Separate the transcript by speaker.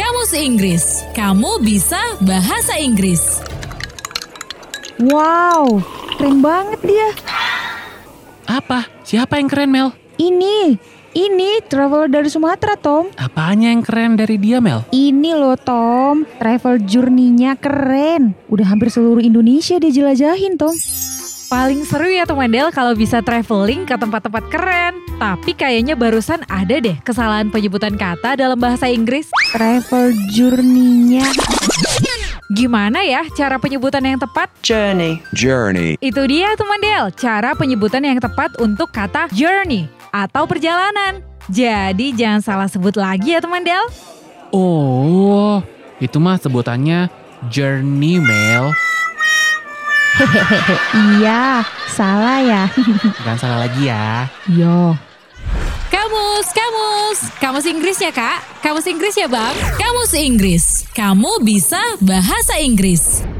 Speaker 1: Kamus Inggris. Kamu bisa bahasa Inggris.
Speaker 2: Wow, keren banget dia.
Speaker 3: Apa? Siapa yang keren, Mel?
Speaker 2: Ini, ini travel dari Sumatera, Tom.
Speaker 3: Apanya yang keren dari dia, Mel?
Speaker 2: Ini loh, Tom. Travel journey-nya keren. Udah hampir seluruh Indonesia dia jelajahin, Tom.
Speaker 4: Paling seru ya teman Del kalau bisa traveling ke tempat-tempat keren. Tapi kayaknya barusan ada deh kesalahan penyebutan kata dalam bahasa Inggris.
Speaker 2: Travel journey-nya.
Speaker 4: Gimana ya cara penyebutan yang tepat?
Speaker 5: journey,
Speaker 6: journey,
Speaker 4: Itu dia teman Del, cara penyebutan yang tepat untuk kata journey atau perjalanan. Jadi jangan salah sebut lagi ya teman Del.
Speaker 3: Oh, itu mah sebutannya journey, Mel.
Speaker 2: Iya, salah ya.
Speaker 3: Jangan salah lagi ya.
Speaker 4: Yo.
Speaker 1: Kamus, kamus. Kamus Inggris ya, Kak? Kamus Inggris ya, Bang? Kamus Inggris. Kamu bisa bahasa Inggris.